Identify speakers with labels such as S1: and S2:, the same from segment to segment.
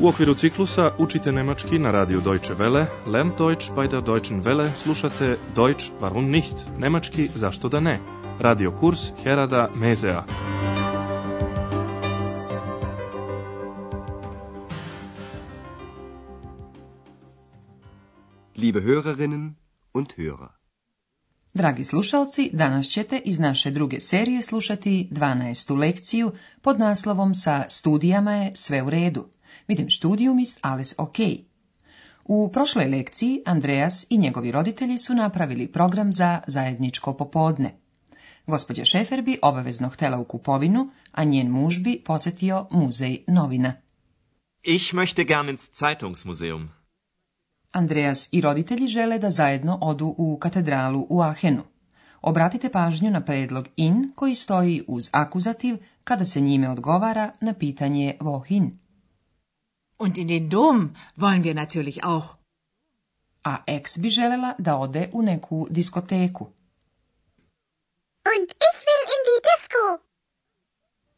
S1: U okviru ciklusa učite nemački na radiju Deutsche Welle, Lernt Deutsch bei der Deutschen Welle, slušate Deutsch warum nicht, nemački zašto da ne, radio kurs Herada Mezea.
S2: Liebe Hörerinnen und Hörer,
S3: Dragi slušalci, danas ćete iz naše druge serije slušati 12. lekciju pod naslovom sa studijama je sve u redu. Vidim studijum ist alles ok. U prošloj lekciji Andreas i njegovi roditelji su napravili program za zajedničko popodne. Gospođa Šefer bi obavezno htjela u kupovinu, a njen muž bi posjetio muzej novina.
S4: Ich möchte gern ins Zeitungsmuseum.
S3: Andreas i roditelji žele da zajedno odu u katedralu u Ahenu. Obratite pažnju na predlog in koji stoji uz akuzativ kada se njime odgovara na pitanje vohin.
S5: Und in den Dom wollen wir natürlich auch.
S3: A ex bi želela da ode u neku diskoteku.
S6: Und ich will in die Disco.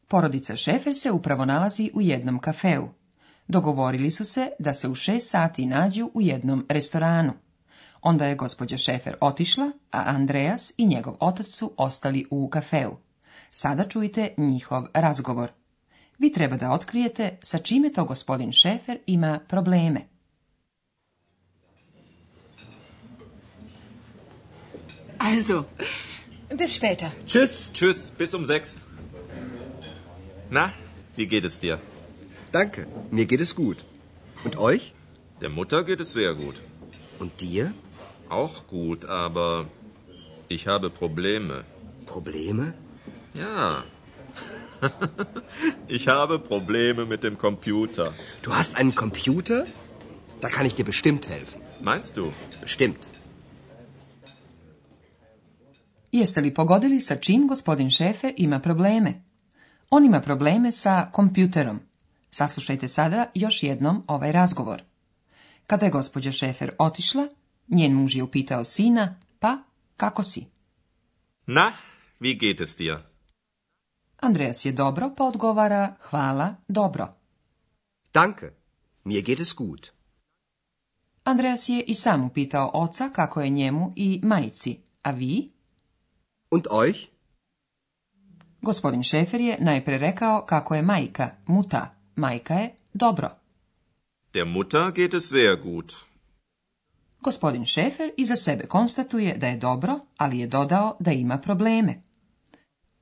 S3: Porodica Šefer se upravo nalazi u jednom kafeu. Dogovorili su se da se u šest sati nađu u jednom restoranu. Onda je gospođa Šefer otišla, a Andreas i njegov otac su ostali u kafeu. Sada čujte njihov razgovor. Vi treba da otkrijete sa čime to gospodin Šefer ima probleme.
S5: Also, bis später.
S4: Tschüss. Tschüss, bis um sechs. Na, wie geht es dir?
S2: danke, mir geht es gut. Und euch?
S4: Der Mutter geht es sehr gut.
S2: Und dir?
S4: Auch gut, aber ich habe Probleme.
S2: Probleme?
S4: Ja. ich habe Probleme mit dem Computer.
S2: Du hast einen Computer? Da kann ich dir bestimmt helfen.
S4: Meinst du?
S2: Bestimmt.
S3: Jeste li pogodili sa čim gospodin Šefer ima probleme? On ima probleme sa kompjuterom. Saslušajte sada još jednom ovaj razgovor. Kada je gospođa Šefer otišla, njen muž je upitao sina, pa kako si?
S4: Na, wie geht es dir?
S3: Andreas je dobro, pa odgovara hvala, dobro.
S2: Danke, mir geht es gut.
S3: Andreas je i sam upitao oca kako je njemu i majici, a vi?
S2: Und euch?
S3: Gospodin Šefer je najpre rekao kako je majka, muta, majka je dobro.
S4: Der Mutter geht es sehr gut.
S3: Gospodin Šefer iza sebe konstatuje da je dobro, ali je dodao da ima probleme.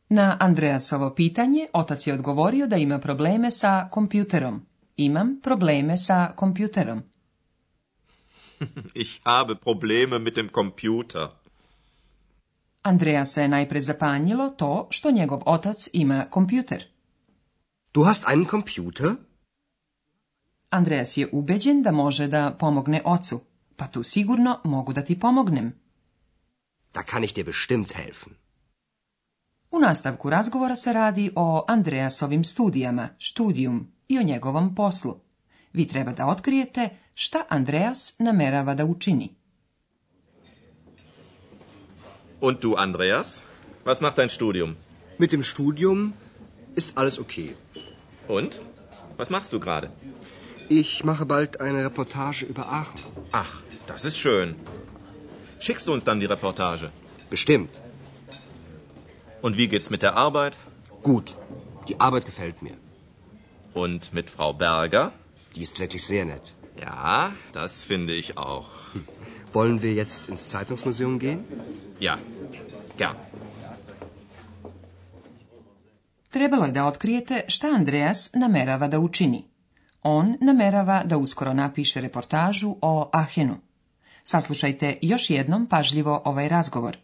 S3: Na Andreasovo pitanje otac je odgovorio da ima probleme sa kompjuterom. Imam probleme sa kompjuterom.
S4: Ich habe Probleme mit dem Computer.
S3: Andreasa je najpre zapanjilo to što njegov otac ima kompjuter.
S2: Du hast einen Computer?
S3: Andreas je ubeđen da može da pomogne ocu. Pa tu sigurno mogu da ti pomognem.
S2: Da kann ich dir bestimmt helfen.
S3: U nastavku razgovora se radi o Andreasovim studijama, studijum i o njegovom poslu. Vi treba da otkrijete šta Andreas namerava da učini.
S4: Und du, Andreas? Was macht dein Studium?
S2: Mit dem Studium ist alles okay.
S4: Und? Was machst du gerade?
S2: Ich mache bald eine Reportage über Aachen.
S4: Ach, das ist schön. Schickst du uns dann die Reportage?
S2: Bestimmt.
S4: Und wie geht's mit der Arbeit?
S2: Gut. Die Arbeit gefällt mir.
S4: Und mit Frau Berger?
S2: Die ist wirklich sehr nett.
S4: Ja, das finde ich auch.
S2: Wollen wir jetzt ins Zeitungsmuseum gehen?
S4: Ja, gern.
S3: Trebalo je da otkrijete šta Andreas namerava da učini. On namerava da uskoro napiše reportažu o Ahenu. Saslušajte još jednom pažljivo ovaj razgovor.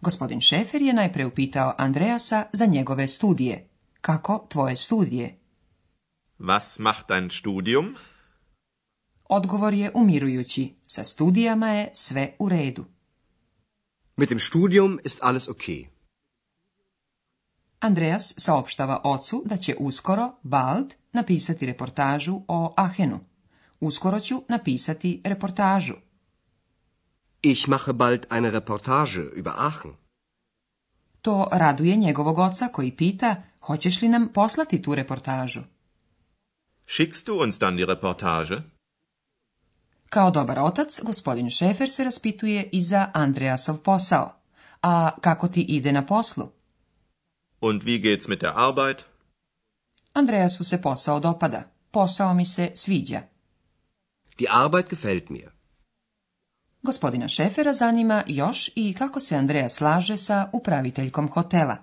S3: Gospodin Šefer je najpre upitao Andreasa za njegove studije. Kako tvoje studije?
S4: Was macht dein Studium?
S3: Odgovor je umirujući. Sa studijama je sve u redu.
S2: Mit dem Studium ist alles okay.
S3: Andreas saopštava ocu da će uskoro, bald, napisati reportažu o Ahenu. Uskoro ću napisati reportažu.
S2: Ich mache bald eine Reportage über Aachen.
S3: To raduje njegovog oca koji pita, hoćeš li nam poslati tu reportažu?
S4: Schickst du uns dann die Reportage?
S3: Kao dobar otac, gospodin Šefer se raspituje i za Andreasov posao. A kako ti ide na poslu?
S4: Und wie geht's mit der Arbeit?
S3: Andreasu se posao dopada. Posao mi se sviđa.
S2: Die Arbeit gefällt mir.
S3: Gospodina Šefera zanima još i kako se Andreja slaže sa upraviteljkom hotela.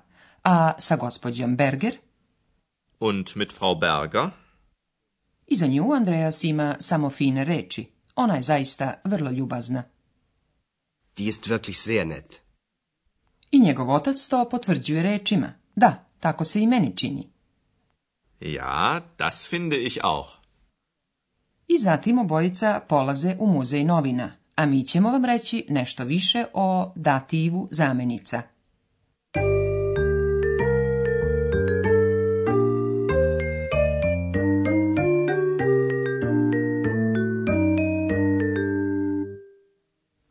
S3: A sa gospođom Berger?
S4: Und mit Frau Berger?
S3: I za nju Andreas ima samo fine reči. Ona je zaista vrlo ljubazna.
S2: Die ist wirklich sehr nett.
S3: I njegov otac to potvrđuje rečima. Da, tako se i meni čini.
S4: Ja, das finde ich auch.
S3: I zatim obojica polaze u muzej novina, a mi ćemo vam reći nešto više o dativu zamenica.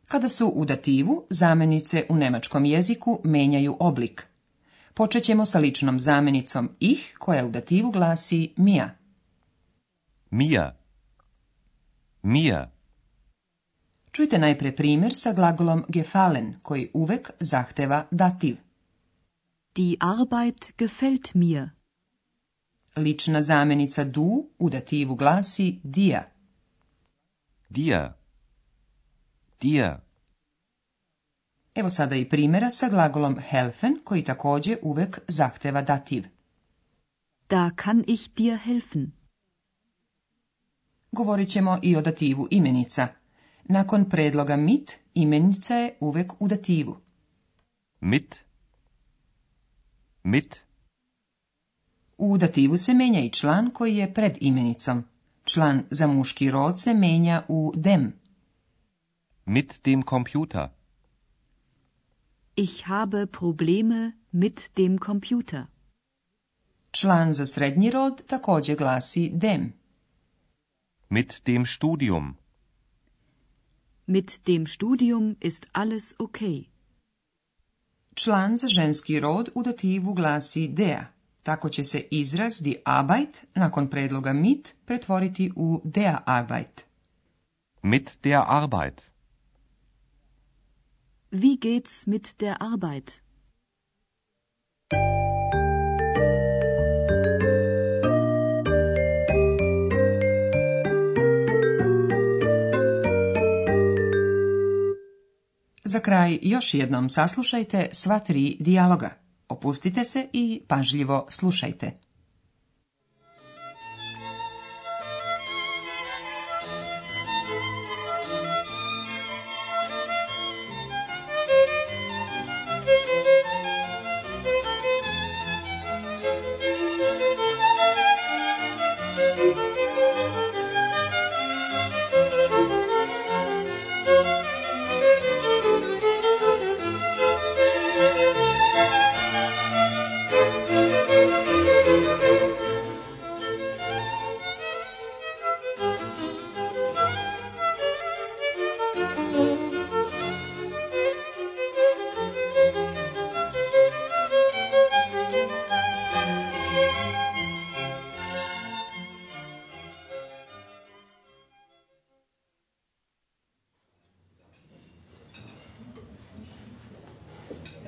S3: Kada su u dativu, zamenice u nemačkom jeziku menjaju oblik. Počet ćemo sa ličnom zamenicom ih, koja u dativu glasi mia.
S7: Mir. Mir.
S3: Čujte najpre primjer sa glagolom gefallen, koji uvek zahteva dativ.
S8: Die Arbeit gefällt mir.
S3: Lična zamenica du u dativu glasi dia.
S7: Dir. Dir.
S3: Evo sada i primjera sa glagolom helfen, koji također uvek zahteva dativ.
S8: Da kann ich dir helfen.
S3: Govorit ćemo i o dativu imenica. Nakon predloga mit, imenica je uvek u dativu.
S7: Mit. Mit.
S3: U dativu se menja i član koji je pred imenicom. Član za muški rod se menja u dem.
S7: Mit dem Computer.
S8: Ich habe Probleme mit dem Computer.
S3: Član za srednji rod također glasi dem.
S7: Mit dem Studium.
S8: Mit dem Studium ist alles okay.
S3: Član za ženski rod u dativu glasi dea. Tako će se izraz die Arbeit nakon predloga mit pretvoriti u der Arbeit.
S7: Mit der Arbeit.
S8: Wie geht's mit der Arbeit?
S3: Za kraj još jednom saslušajte sva tri dijaloga. Opustite se i pažljivo slušajte.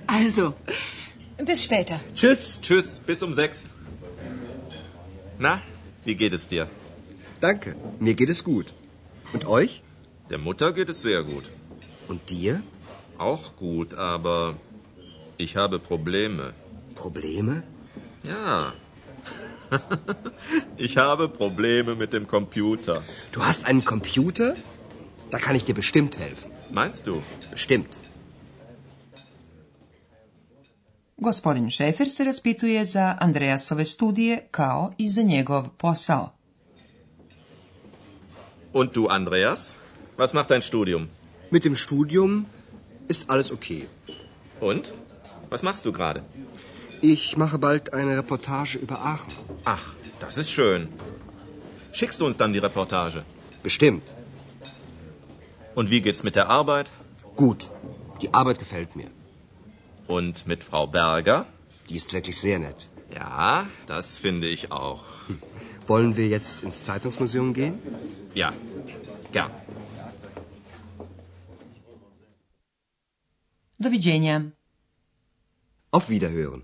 S5: Also, bis später.
S4: Tschüss. Tschüss, bis um sechs. Na, wie geht es dir?
S2: Danke, mir geht es gut. Und euch?
S4: Der Mutter geht es sehr gut.
S2: Und dir?
S4: Auch gut, aber ich habe Probleme.
S2: Probleme?
S4: Ja. ich habe Probleme mit dem Computer.
S2: Du hast einen Computer? Da kann ich dir bestimmt helfen.
S4: Meinst du?
S2: Bestimmt.
S3: Gospodin Šefer se raspituje za Andreasove studije kao i za njegov posao.
S4: Und du, Andreas? Was macht dein Studium?
S2: Mit dem Studium ist alles okay.
S4: Und? Was machst du gerade?
S2: Ich mache bald eine Reportage über Aachen.
S4: Ach, das ist schön. Schickst du uns dann die Reportage?
S2: Bestimmt.
S4: Und wie geht's mit der Arbeit?
S2: Gut. Die Arbeit gefällt mir.
S4: Und mit Frau Berger?
S2: Die ist wirklich sehr nett.
S4: Ja, das finde ich auch.
S2: Wollen wir jetzt ins Zeitungsmuseum gehen?
S4: Ja, gern.
S3: Doviđenja.
S2: Auf Wiederhören.